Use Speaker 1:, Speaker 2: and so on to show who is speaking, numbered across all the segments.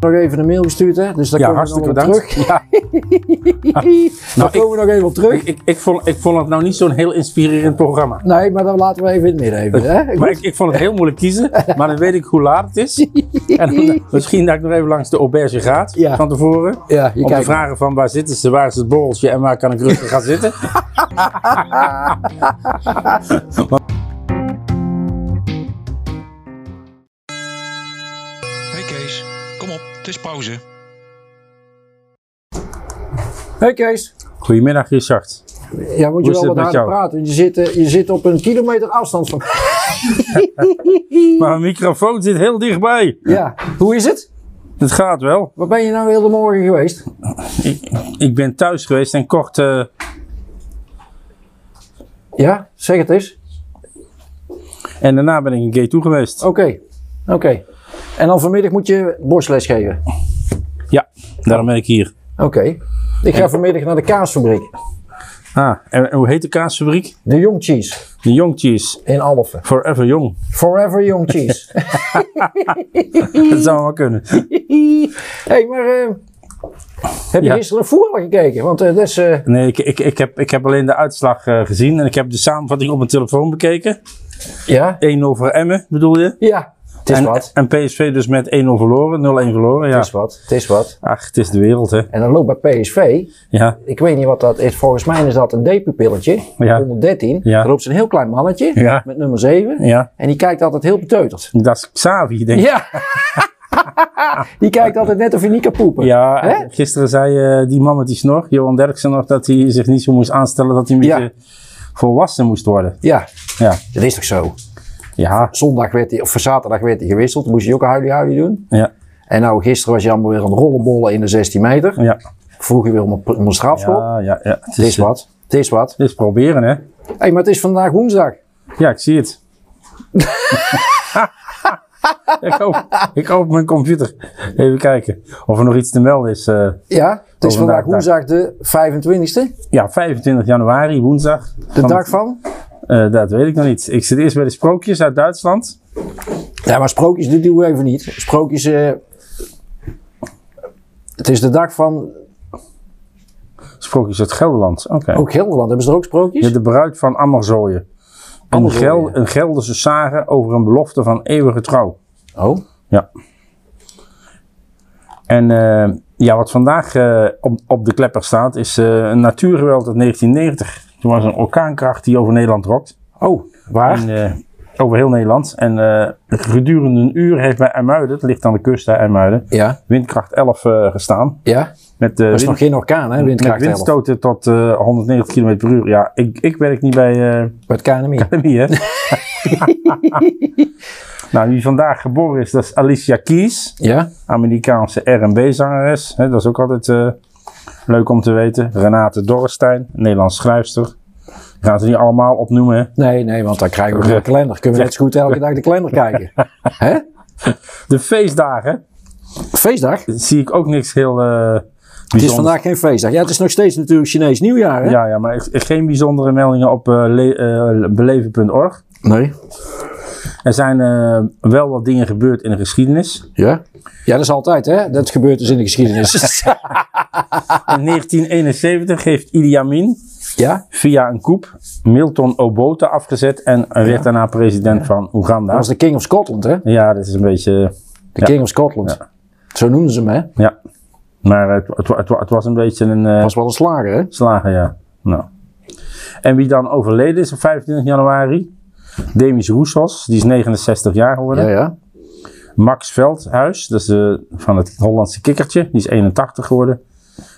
Speaker 1: nog even een mail gestuurd, hè? Dus daar
Speaker 2: Ja,
Speaker 1: komen we nog
Speaker 2: hartstikke
Speaker 1: op
Speaker 2: bedankt.
Speaker 1: terug.
Speaker 2: Ja,
Speaker 1: daar
Speaker 2: ik-
Speaker 1: komen we nog even op terug.
Speaker 2: ik, ik, ik, vond, ik vond het nou niet zo'n heel inspirerend programma.
Speaker 1: Nee, maar dan laten we even in het midden even, hè?
Speaker 2: Maar ik, ik vond het heel moeilijk kiezen, maar dan weet ik hoe laat het is. En dan, eh, misschien dat ik nog even langs de auberge ga
Speaker 1: Ja.
Speaker 2: van tevoren.
Speaker 1: Ja, je
Speaker 2: om te
Speaker 1: kijkt.
Speaker 2: vragen van waar zitten ze, waar is het borreltje en waar kan ik rustig gaan zitten.
Speaker 3: Hey Kees, kom op, het is pauze.
Speaker 1: Hey Kees,
Speaker 2: Goedemiddag Richard.
Speaker 1: ja, moet je
Speaker 2: is
Speaker 1: wel
Speaker 2: het
Speaker 1: wat
Speaker 2: met
Speaker 1: harder
Speaker 2: jou?
Speaker 1: praten. want Je zit, eh, je zit op een kilometer afstand van
Speaker 2: Maar mijn microfoon zit heel dichtbij.
Speaker 1: Ja, hoe is het?
Speaker 2: Het gaat wel.
Speaker 1: Waar ben je nou heel de morgen geweest?
Speaker 2: Ik ben thuis geweest en kort... eh,
Speaker 1: Ja, zeg het eens.
Speaker 2: en daarna ben ik in Gay toe geweest.
Speaker 1: Oké, oké. En dan vanmiddag moet je borstles geven.
Speaker 2: Ja, daarom ben ik hier.
Speaker 1: Oké. Ik ga vanmiddag naar de kaasfabriek.
Speaker 2: Ah, en, en hoe heet de kaasfabriek?
Speaker 1: De Young Cheese
Speaker 2: De Young Cheese.
Speaker 1: in Alphen.
Speaker 2: Forever Young.
Speaker 1: Forever Young Cheese. Mhm.
Speaker 2: Dat zou wel kunnen.
Speaker 1: Hé, hey, maar eh, heb je
Speaker 2: Ja.
Speaker 1: gisteren voetbal gekeken? Want eh, dat is... eh,
Speaker 2: Nee, ik, ik, ik, heb, ik heb alleen de uitslag eh, gezien en ik heb de samenvatting op mijn telefoon bekeken. 1-0
Speaker 1: ja?
Speaker 2: voor Emmen, bedoel je?
Speaker 1: Ja. Het is
Speaker 2: en,
Speaker 1: wat.
Speaker 2: en PSV dus met 1-0 verloren, 0-1 verloren, ja.
Speaker 1: Het is wat. Het is wat.
Speaker 2: Ach, het is de wereld, hè.
Speaker 1: En dan loopt bij PSV.
Speaker 2: Ja,
Speaker 1: Ik weet niet wat dat is. Volgens mij is dat een D-pupilletje.
Speaker 2: Ja.
Speaker 1: 113.
Speaker 2: Ja.
Speaker 1: Daar loopt zo'n heel klein mannetje.
Speaker 2: Ja.
Speaker 1: Met nummer 7.
Speaker 2: ja.
Speaker 1: En die kijkt altijd heel beteuterd.
Speaker 2: Dat is Xavi, denk ik.
Speaker 1: Ja. die kijkt altijd net of je niet kan poepen.
Speaker 2: Ja,
Speaker 1: Hè?
Speaker 2: en gisteren zei eh, die man met die snor, Johan Derksen nog, dat hij zich niet zo moest aanstellen dat hij een
Speaker 1: Ja.
Speaker 2: beetje volwassen moest worden.
Speaker 1: Ja,
Speaker 2: Ja,
Speaker 1: dat is toch zo.
Speaker 2: ja,
Speaker 1: Zondag werd hij, of voor zaterdag werd hij gewisseld. Dan moest hij ook een huilie-huilie doen.
Speaker 2: ja,
Speaker 1: En nou, gisteren was je allemaal weer aan het rollenbollen in de 16 meter.
Speaker 2: ja.
Speaker 1: Vroeg je weer om een, om een strafschop.
Speaker 2: Ja, ja, ja. Het
Speaker 1: Het is wat. Het is wat.
Speaker 2: Het is proberen, hè.
Speaker 1: Hé, maar het is vandaag woensdag.
Speaker 2: Ja, ik zie het. ik, hoop, ik open mijn computer. Even kijken of er nog iets te melden is. eh.
Speaker 1: Ja, het is
Speaker 2: Oh, vandaag
Speaker 1: vandaag woensdag de 25e.
Speaker 2: ja, 25 januari, woensdag.
Speaker 1: De dag van.
Speaker 2: eh, dat weet ik nog niet. Ik zit eerst bij de sprookjes uit Duitsland.
Speaker 1: Ja, maar sprookjes, dit doen we even niet. Sprookjes. eh, het is de dag van.
Speaker 2: Sprookjes uit Gelderland. Oké.
Speaker 1: Ook Gelderland hebben ze er ook sprookjes?
Speaker 2: Ja, de bruid van Ammerzooien. Een,
Speaker 1: Ammerzooien.
Speaker 2: Gel, een Gelderse sage over een belofte van eeuwige trouw.
Speaker 1: Oh.
Speaker 2: Ja. En eh, ja, wat vandaag eh, op, op de klepper staat is eh, een natuurgeweld uit 1990. Toen was er een orkaankracht die over Nederland rokt.
Speaker 1: Oh, waar?
Speaker 2: En, eh, over heel Nederland. En eh, gedurende een uur heeft bij IJmuiden, het ligt aan de kust daar IJmuiden,
Speaker 1: Ja,
Speaker 2: windkracht 11 eh, gestaan.
Speaker 1: ja.
Speaker 2: Met,
Speaker 1: Dat
Speaker 2: eh,
Speaker 1: is
Speaker 2: wind-
Speaker 1: nog geen orkaan, hè?
Speaker 2: met
Speaker 1: Windkracht 11.
Speaker 2: windstoten tot eh, 190 km per uur. Ja, ik, ik werk niet bij... eh
Speaker 1: Met KNMI.
Speaker 2: Academie, hè? nou, die vandaag geboren is, dat is Alicia Keys,
Speaker 1: Ja?
Speaker 2: Amerikaanse R&B-zangeres. hè, Dat is ook altijd eh, leuk om te weten. Renate Dorrestein, Nederlands schrijfster. Ik ga ze niet allemaal opnoemen. hè.
Speaker 1: Nee, nee, want dan krijgen we een kalender. Kunnen we net zo goed elke dag de kalender kijken. Hè?
Speaker 2: De feestdagen
Speaker 1: Feestdag?
Speaker 2: zie ik ook niks heel eh
Speaker 1: Het is
Speaker 2: bijzonders.
Speaker 1: vandaag geen feestdag. Ja, het is nog steeds natuurlijk Chinees nieuwjaar, hè?
Speaker 2: Ja, ja, maar echt- echt geen bijzondere meldingen op eh, le- eh, beleven.org.
Speaker 1: Nee.
Speaker 2: Er zijn eh, wel wat dingen gebeurd in de geschiedenis.
Speaker 1: Ja? Ja, dat is altijd, hè? Dat gebeurt dus in de geschiedenis. Ah.
Speaker 2: In 1971 heeft Idi Amin,
Speaker 1: ja?
Speaker 2: via een coup Milton Obote afgezet en werd daarna president van
Speaker 1: Dat
Speaker 2: Oeganda.
Speaker 1: was de King of Scotland, hè?
Speaker 2: Ja, dat is een beetje.
Speaker 1: De King of Scotland. Zo noemden ze hem, hè?
Speaker 2: Ja. Maar het, het, wa- het, wa- het was een beetje een eh
Speaker 1: Was wel een slager, hè?
Speaker 2: slager, ja. Nou. En wie dan overleden is op 25 januari? Demis Roussos, die is 69 jaar geworden.
Speaker 1: Ja, ja.
Speaker 2: Max Veldhuis, dat is de, van het Hollandse kikkertje, die is 81 geworden.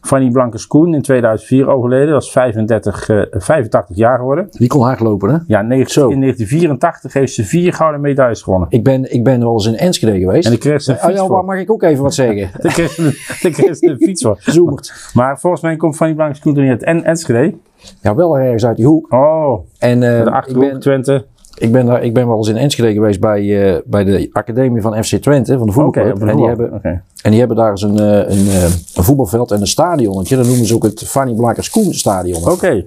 Speaker 2: Fanny Blankers-Koen in 2004 overleden, dat is 35, eh, 85 jaar geworden.
Speaker 1: Die kon hard lopen, hè?
Speaker 2: Ja, negen-
Speaker 1: Zo.
Speaker 2: in 1984 heeft ze vier gouden medailles gewonnen.
Speaker 1: Ik ben, ik ben wel eens in Enschede geweest.
Speaker 2: En ik kreeg ze een
Speaker 1: Oh,
Speaker 2: fiets
Speaker 1: ja,
Speaker 2: voor.
Speaker 1: maar mag ik ook even wat zeggen?
Speaker 2: Ik kreeg ze een- ik kreeg ze een fiets voor.
Speaker 1: Zoemert.
Speaker 2: Maar volgens mij komt Fanny Blank Scooter niet uit en Enschede.
Speaker 1: Ja, wel ergens uit die hoek.
Speaker 2: Oh,
Speaker 1: En eh,
Speaker 2: de
Speaker 1: ik, ben,
Speaker 2: Achterhoek, Twente.
Speaker 1: ik, ben daar, ik ben wel eens in Enschede geweest bij, eh, bij de academie van FC Twente, van de
Speaker 2: Oké,
Speaker 1: voetbalclub.
Speaker 2: op de
Speaker 1: en, die
Speaker 2: voetbal.
Speaker 1: hebben,
Speaker 2: Oké.
Speaker 1: en die hebben daar eens een,
Speaker 2: Oh.
Speaker 1: eh, een, eh, een voetbalveld en een stadionnetje. Dat noemen ze ook het Fanny Blankers Koen stadion.
Speaker 2: Oké.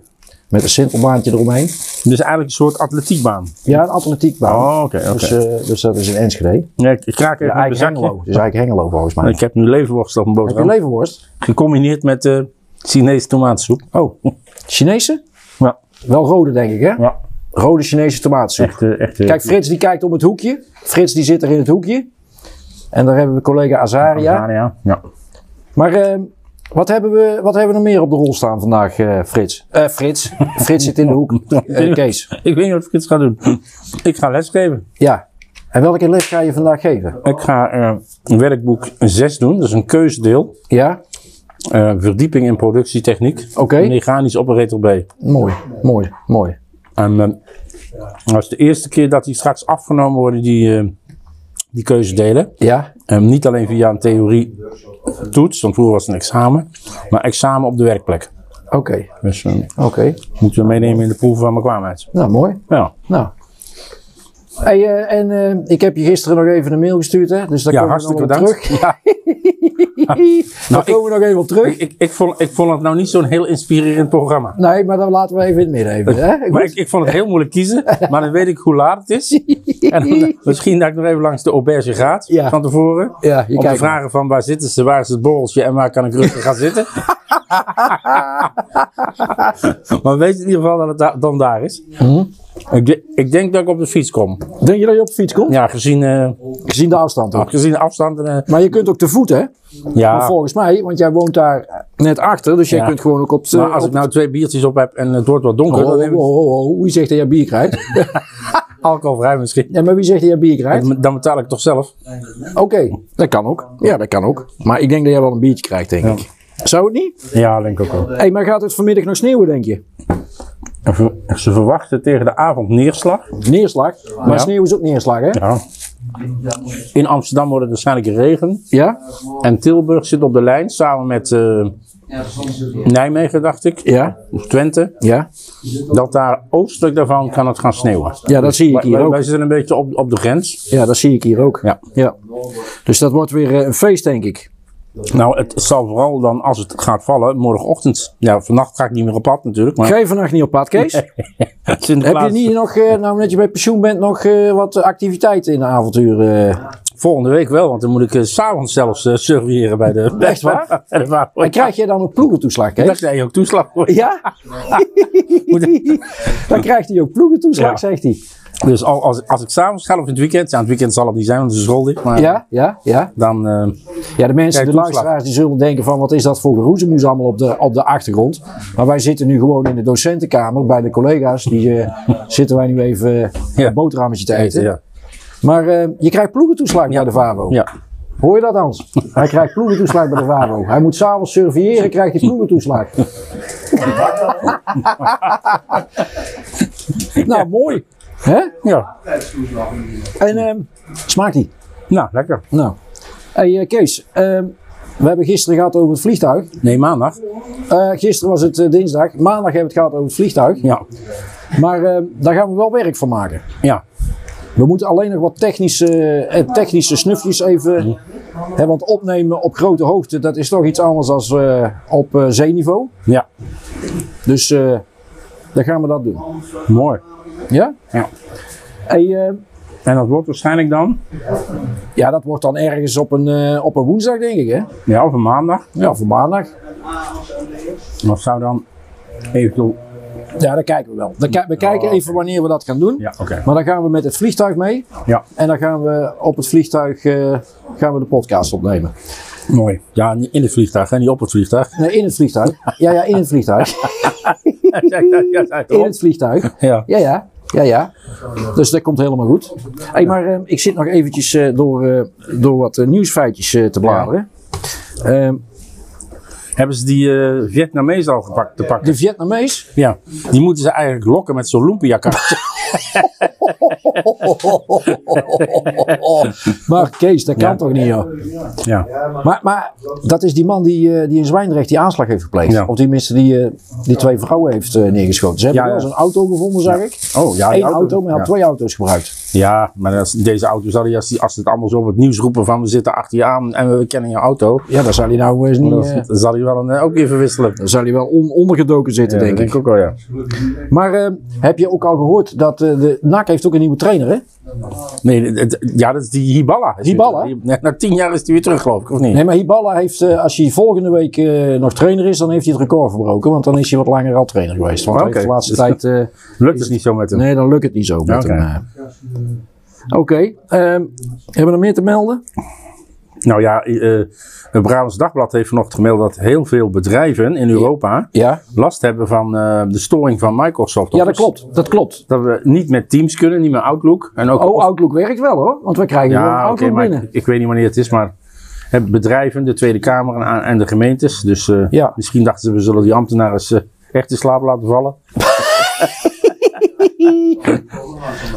Speaker 1: Met een sintelbaantje eromheen.
Speaker 2: Dus eigenlijk een soort atletiekbaan.
Speaker 1: Ja, een atletiekbaan.
Speaker 2: Oh, oké, oké.
Speaker 1: dus, eh, dus dat is in Enschede.
Speaker 2: Ja, ik, ik kraak even
Speaker 1: Ja,
Speaker 2: mijn
Speaker 1: eigenlijk Hengelo.
Speaker 2: zakje.
Speaker 1: Het is eigenlijk Hengelo volgens mij.
Speaker 2: Ik heb nu leverworst op mijn
Speaker 1: Heb je
Speaker 2: boterham.
Speaker 1: leverworst?
Speaker 2: Gecombineerd met eh Chinese tomatensoep.
Speaker 1: Oh, Chinese?
Speaker 2: Ja.
Speaker 1: Wel rode denk ik hè?
Speaker 2: Ja,
Speaker 1: Rode Chinese tomatensoep.
Speaker 2: echt, eh, echt eh,
Speaker 1: Kijk, Frits die kijkt om het hoekje. Frits die zit er in het hoekje. En daar hebben we collega Azaria.
Speaker 2: Azaria. Ja.
Speaker 1: Maar eh, wat, hebben we, wat hebben we nog meer op de rol staan vandaag, eh, Frits? Eh, Frits. Frits zit in de hoek. Eh, Kees.
Speaker 2: Ik weet niet wat ik het ga doen. Ik ga lesgeven.
Speaker 1: Ja. En welke les ga je vandaag geven?
Speaker 2: Ik ga eh, werkboek 6 doen. Dat is een keuzedeel.
Speaker 1: Ja?
Speaker 2: Eh, verdieping in productietechniek.
Speaker 1: Oké.
Speaker 2: Mechanisch operator B.
Speaker 1: Mooi. Mooi. Mooi.
Speaker 2: En eh, dat is de eerste keer dat die straks afgenomen worden, die, eh, die keuzedelen.
Speaker 1: Ja?
Speaker 2: Eh, niet alleen via een theorie toets, want vroeger was het een examen. Maar examen op de werkplek.
Speaker 1: Oké.
Speaker 2: Dus eh,
Speaker 1: Oké.
Speaker 2: moeten we meenemen in de proeven van bekwaamheid.
Speaker 1: Nou, mooi.
Speaker 2: Ja,
Speaker 1: Nou. Hey, eh, en eh, ik heb je gisteren nog even een mail gestuurd, hè? Dus daar
Speaker 2: ja
Speaker 1: komen we nog
Speaker 2: hartstikke
Speaker 1: op
Speaker 2: bedankt.
Speaker 1: terug.
Speaker 2: Ja,
Speaker 1: daar
Speaker 2: ik-
Speaker 1: komen we nog even op terug.
Speaker 2: ik, ik, ik, vond, ik vond het nou niet zo'n heel inspirerend programma.
Speaker 1: Nee, maar dan laten we even in het midden even. Hè?
Speaker 2: Maar ik, ik vond het heel moeilijk kiezen, maar dan weet ik hoe laat het is. En dan- misschien dat ik nog even langs de auberge ga
Speaker 1: Ja.
Speaker 2: van tevoren.
Speaker 1: Ja, je
Speaker 2: om te
Speaker 1: kijkt
Speaker 2: vragen van waar zitten ze, waar is het borreltje en waar kan ik rustig gaan zitten. maar weet in ieder geval dat het da- dan daar is.
Speaker 1: Hm?
Speaker 2: Ik, de- ik denk dat ik op de fiets kom.
Speaker 1: Denk je dat je op de fiets komt? Ah.
Speaker 2: Ja, gezien, eh,
Speaker 1: Gezien de afstand ook.
Speaker 2: gezien de afstand. en, eh,
Speaker 1: Maar je kunt ook te voet, hè? Maar
Speaker 2: ja,
Speaker 1: volgens mij, want jij woont daar net achter, dus jij
Speaker 2: Ja.
Speaker 1: kunt gewoon ook op de...
Speaker 2: maar als ik nou twee biertjes op heb en het wordt wat donker,
Speaker 1: Oh, oh,
Speaker 2: dan neem
Speaker 1: oh,
Speaker 2: ik
Speaker 1: oh, oh, Wie zegt dat jij bier krijgt?
Speaker 2: alcoholvrij misschien.
Speaker 1: ja, maar wie zegt dat jij bier krijgt?
Speaker 2: Dan betaal ik het toch zelf.
Speaker 1: Oké, dat kan ook. Ja, dat kan ook. Maar ik denk dat jij wel een biertje krijgt, denk ik. Zou het niet?
Speaker 2: Ja, denk ik ook wel.
Speaker 1: Hé, hey, maar gaat het vanmiddag nog sneeuwen, denk je?
Speaker 2: En ver- Ze verwachten tegen de avond neerslag.
Speaker 1: Neerslag. Maar
Speaker 2: Ja.
Speaker 1: sneeuw is ook neerslag, hè?
Speaker 2: Ja. In Amsterdam wordt het waarschijnlijk regen.
Speaker 1: Ja?
Speaker 2: En Tilburg zit op de lijn samen met eh, Nijmegen, dacht ik.
Speaker 1: Ja?
Speaker 2: Of Twente.
Speaker 1: Ja?
Speaker 2: Dat daar oostelijk daarvan kan het gaan sneeuwen.
Speaker 1: Ja, dat zie ik
Speaker 2: Wij,
Speaker 1: hier
Speaker 2: wij-
Speaker 1: ook.
Speaker 2: wij zitten een beetje op, op de grens.
Speaker 1: Ja, dat zie ik hier ook.
Speaker 2: Ja.
Speaker 1: ja. Dus dat wordt weer eh, een feest, denk ik.
Speaker 2: Nou, het zal vooral dan als het gaat vallen, morgenochtend. Ja, vannacht ga ik niet meer op pad natuurlijk. Maar
Speaker 1: Ga je vannacht niet op pad, Kees? Heb je
Speaker 2: Sinterklaas,
Speaker 1: niet nog, eh, nou net je bij pensioen bent, nog eh, wat activiteiten in de avonturen? eh?
Speaker 2: volgende week wel, want dan moet ik eh, s s'avonds zelfs eh, surveilleren bij de...
Speaker 1: Echt waar?
Speaker 2: bij de waar-
Speaker 1: En krijg je dan ook ploegentoeslag,
Speaker 2: Ik
Speaker 1: Kees?
Speaker 2: dacht dat je ook toeslag voor.
Speaker 1: Ja? dan krijgt hij ook ploegentoeslag,
Speaker 2: Ja.
Speaker 1: zegt hij.
Speaker 2: Dus al- als, als ik s'avonds ga of in het weekend, ja, in het weekend zal het niet zijn, want het is school dicht, maar
Speaker 1: Ja, ja, ja.
Speaker 2: dan... eh,
Speaker 1: Ja, de mensen,
Speaker 2: Krijg
Speaker 1: de
Speaker 2: toeslag.
Speaker 1: luisteraars, die zullen denken van wat is dat voor geroezemoes allemaal op de, op de achtergrond. Maar wij zitten nu gewoon in de docentenkamer bij de collega's. Die eh, zitten wij nu even eh,
Speaker 2: Ja.
Speaker 1: een boterhammetje te eten.
Speaker 2: ja.
Speaker 1: Maar eh, je krijgt ploegentoeslag bij de VARO.
Speaker 2: ja.
Speaker 1: Hoor je dat, Hans? Hij krijgt ploegentoeslag bij de VARO. Hij moet s'avonds surveilleren, krijgt hij ploegentoeslag. nou, mooi. Hè?
Speaker 2: Ja.
Speaker 1: En ehm, smaakt die?
Speaker 2: Nou, lekker.
Speaker 1: Nou. Hey, eh, Kees, ehm, we hebben gisteren gehad over het vliegtuig.
Speaker 2: Nee, maandag.
Speaker 1: Eh, gisteren was het eh, dinsdag. Maandag hebben we het gehad over het vliegtuig.
Speaker 2: Ja.
Speaker 1: Maar ehm, daar gaan we wel werk van maken.
Speaker 2: Ja.
Speaker 1: We moeten alleen nog wat technische, eh, technische snufjes even. Hè, want opnemen op grote hoogte, dat is toch iets anders dan op eh, zeeniveau.
Speaker 2: Ja.
Speaker 1: Dus eh, dan gaan we dat doen.
Speaker 2: Mooi.
Speaker 1: Ja?
Speaker 2: Ja.
Speaker 1: Hey, eh,
Speaker 2: En dat wordt waarschijnlijk dan?
Speaker 1: ja, dat wordt dan ergens op een, eh, op een woensdag, denk ik. Hè?
Speaker 2: Ja, of een maandag.
Speaker 1: Ja, voor maandag.
Speaker 2: Of zou dan eventueel...
Speaker 1: Ja, dat kijken we wel. Dan ki- we kijken even wanneer we dat gaan doen.
Speaker 2: Ja, oké.
Speaker 1: Maar dan gaan we met het vliegtuig mee.
Speaker 2: Ja,
Speaker 1: En dan gaan we op het vliegtuig eh, gaan we de podcast opnemen.
Speaker 2: mooi. Ja, niet in het vliegtuig, hè? niet op het vliegtuig.
Speaker 1: Nee, in het vliegtuig. Ja, ja, in het vliegtuig. In het vliegtuig.
Speaker 2: Ja.
Speaker 1: Ja, ja. Ja, ja. Dus dat komt helemaal goed. Hey, maar eh, ik zit nog eventjes eh, door, eh, door wat eh, nieuwsfeitjes eh, te bladeren. Ehm,
Speaker 2: Hebben ze die eh Vietnamees al gepakt, te pakken?
Speaker 1: de Vietnamees.
Speaker 2: Ja. Die moeten ze eigenlijk lokken met zo'n lumpia-kaartje.
Speaker 1: Maar Kees, dat kan
Speaker 2: Ja.
Speaker 1: toch niet, joh.
Speaker 2: Ja.
Speaker 1: Maar, maar dat is die man die, eh, die in Zwijndrecht die aanslag heeft gepleegd.
Speaker 2: Ja.
Speaker 1: Of tenminste die, eh, die twee vrouwen heeft eh, neergeschoten. Ze hebben
Speaker 2: Ja,
Speaker 1: wel
Speaker 2: ja.
Speaker 1: eens een auto gevonden, zag ik.
Speaker 2: Oh, ja.
Speaker 1: Eén
Speaker 2: die
Speaker 1: auto, maar hij had
Speaker 2: ja.
Speaker 1: twee auto's gebruikt.
Speaker 2: Ja, maar als deze auto zal hij, als, die- als ze het allemaal zo op het nieuws roepen van we zitten achter je aan en we kennen je auto.
Speaker 1: Ja, daar zal hij nou eens niet,
Speaker 2: Dan,
Speaker 1: eh,
Speaker 2: dan zal hij wel een, eh, ook weer verwisselen.
Speaker 1: daar zal hij wel on- ondergedoken zitten,
Speaker 2: Ja, dat
Speaker 1: denk ik.
Speaker 2: ook wel, ja.
Speaker 1: Maar eh, heb je ook al gehoord dat eh, de NAC heeft ook een nieuwe trainer, hè?
Speaker 2: Nee, het- het- ja, dat is die Hiballa. Is
Speaker 1: Hiballa?
Speaker 2: weer terug. Die- Na tien jaar is hij weer terug, geloof ik, of niet?
Speaker 1: Nee, maar Hiballa heeft, eh, als hij volgende week eh, nog trainer is, dan heeft hij het record verbroken. Want dan is hij wat langer al trainer geweest. Want hij
Speaker 2: Oké.
Speaker 1: heeft de laatste
Speaker 2: Dus-
Speaker 1: tijd... eh,
Speaker 2: Lukt het niet zo met hem?
Speaker 1: Nee, dan lukt het niet zo met
Speaker 2: Oké.
Speaker 1: hem. eh. Oké, ehm, hebben we nog meer te melden?
Speaker 2: Nou ja, eh, eh, het Brabants Dagblad heeft vanochtend gemeld dat heel veel bedrijven in Europa
Speaker 1: Ja.
Speaker 2: last hebben van eh, de storing van Microsoft.
Speaker 1: Ja, dat
Speaker 2: Office.
Speaker 1: klopt. Dat klopt.
Speaker 2: Dat we niet met Teams kunnen, niet met Outlook. En ook
Speaker 1: Oh, Outlook werkt wel hoor, want we krijgen gewoon
Speaker 2: ja, oké,
Speaker 1: Outlook
Speaker 2: maar
Speaker 1: binnen.
Speaker 2: ik, ik weet niet wanneer het is, maar hè, bedrijven, de Tweede Kamer en, aan- en de gemeentes. Dus eh,
Speaker 1: Ja.
Speaker 2: misschien dachten ze, we zullen die ambtenaren eens, eh, echt in slaap laten vallen.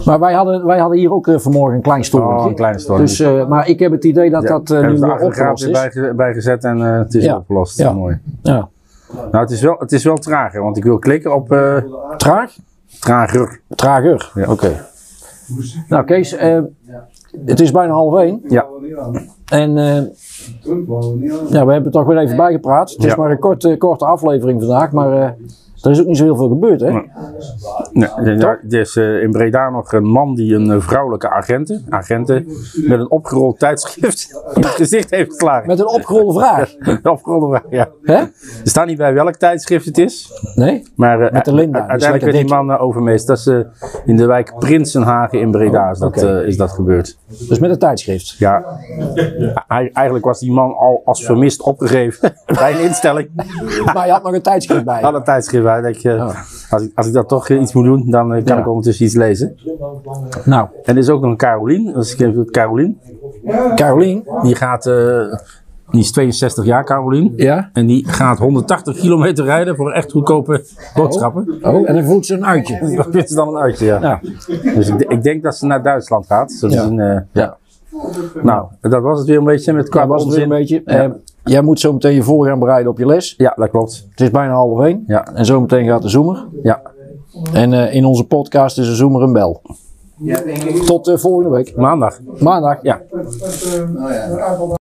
Speaker 1: Maar wij hadden, wij hadden hier ook eh, vanmorgen een klein storing.
Speaker 2: Oh, een kleine storing.
Speaker 1: Dus, eh, maar ik heb het idee dat
Speaker 2: Ja,
Speaker 1: dat eh,
Speaker 2: hebben
Speaker 1: nu
Speaker 2: ze de
Speaker 1: weer
Speaker 2: aggregaat
Speaker 1: opgelost
Speaker 2: weer
Speaker 1: is.
Speaker 2: bijge- bijgezet en eh, het is
Speaker 1: Ja.
Speaker 2: opgelost.
Speaker 1: Ja.
Speaker 2: Mooi.
Speaker 1: Ja.
Speaker 2: Nou, het is wel, het is wel trager, want ik wil klikken op eh,
Speaker 1: Traag?
Speaker 2: trager.
Speaker 1: Trager.
Speaker 2: Ja.
Speaker 1: Oké. Nou Kees, eh, het is bijna half één.
Speaker 2: Ja.
Speaker 1: En eh,
Speaker 4: Ja.
Speaker 1: ja, we hebben het toch weer even bijgepraat. Het is
Speaker 2: Ja.
Speaker 1: maar een korte, korte aflevering vandaag, maar eh, er is ook niet zo heel veel gebeurd hè?
Speaker 2: Nee, er- er is eh, in Breda nog een man die een eh, vrouwelijke agente, agente met een opgerold tijdschrift in het gezicht heeft geslagen.
Speaker 1: Met een opgerolde vraag.
Speaker 2: Een opgerolde vraag, ja.
Speaker 1: Hè?
Speaker 2: Er staat niet bij welk tijdschrift het is,
Speaker 1: Nee?
Speaker 2: maar eh,
Speaker 1: Met de Linda,
Speaker 2: u-
Speaker 1: dus
Speaker 2: uiteindelijk
Speaker 1: lekker
Speaker 2: werd die man eh, overmeest. Dat is eh, in de wijk Prinsenhagen in Breda is dat,
Speaker 1: Oh, oké.
Speaker 2: eh, is dat gebeurd.
Speaker 1: Dus met een tijdschrift.
Speaker 2: Ja, hij- eigenlijk was die man al als vermist opgegeven bij een instelling.
Speaker 1: Maar je had nog een tijdschrift bij.
Speaker 2: Alle tijdschrift waar ik, eh,
Speaker 1: Ja.
Speaker 2: als, ik, als ik dat toch eh, iets moet doen, dan eh, kan
Speaker 1: Oh. Ja.
Speaker 2: ik ondertussen iets lezen.
Speaker 1: Nou,
Speaker 2: En er is ook nog een Carolien, als ik even Carolien,
Speaker 1: Carolien.
Speaker 2: die gaat, eh, die is 62 jaar Carolien.
Speaker 1: Ja?
Speaker 2: En die gaat 180 kilometer rijden voor echt goedkope boodschappen.
Speaker 1: Oh, en dan voelt ze een uitje.
Speaker 2: Dat vindt ze dan een uitje, ja.
Speaker 1: Ja.
Speaker 2: Dus ik, ik denk dat ze naar Duitsland gaat. Zo te
Speaker 1: Ja.
Speaker 2: zien, eh,
Speaker 1: Ja.
Speaker 2: Nou, dat was het weer een beetje met qua
Speaker 1: Dat was het weer
Speaker 2: onzin.
Speaker 1: een beetje.
Speaker 2: Ja.
Speaker 1: Eh, jij moet zo meteen je voor gaan bereiden op je les.
Speaker 2: Ja, dat klopt.
Speaker 1: Het is bijna half één.
Speaker 2: Ja.
Speaker 1: En zo meteen gaat de zoemer.
Speaker 2: Ja.
Speaker 1: En eh, in onze podcast is een zoemer een bel. Tot eh, volgende week.
Speaker 2: Maandag.
Speaker 1: Maandag.
Speaker 2: Ja.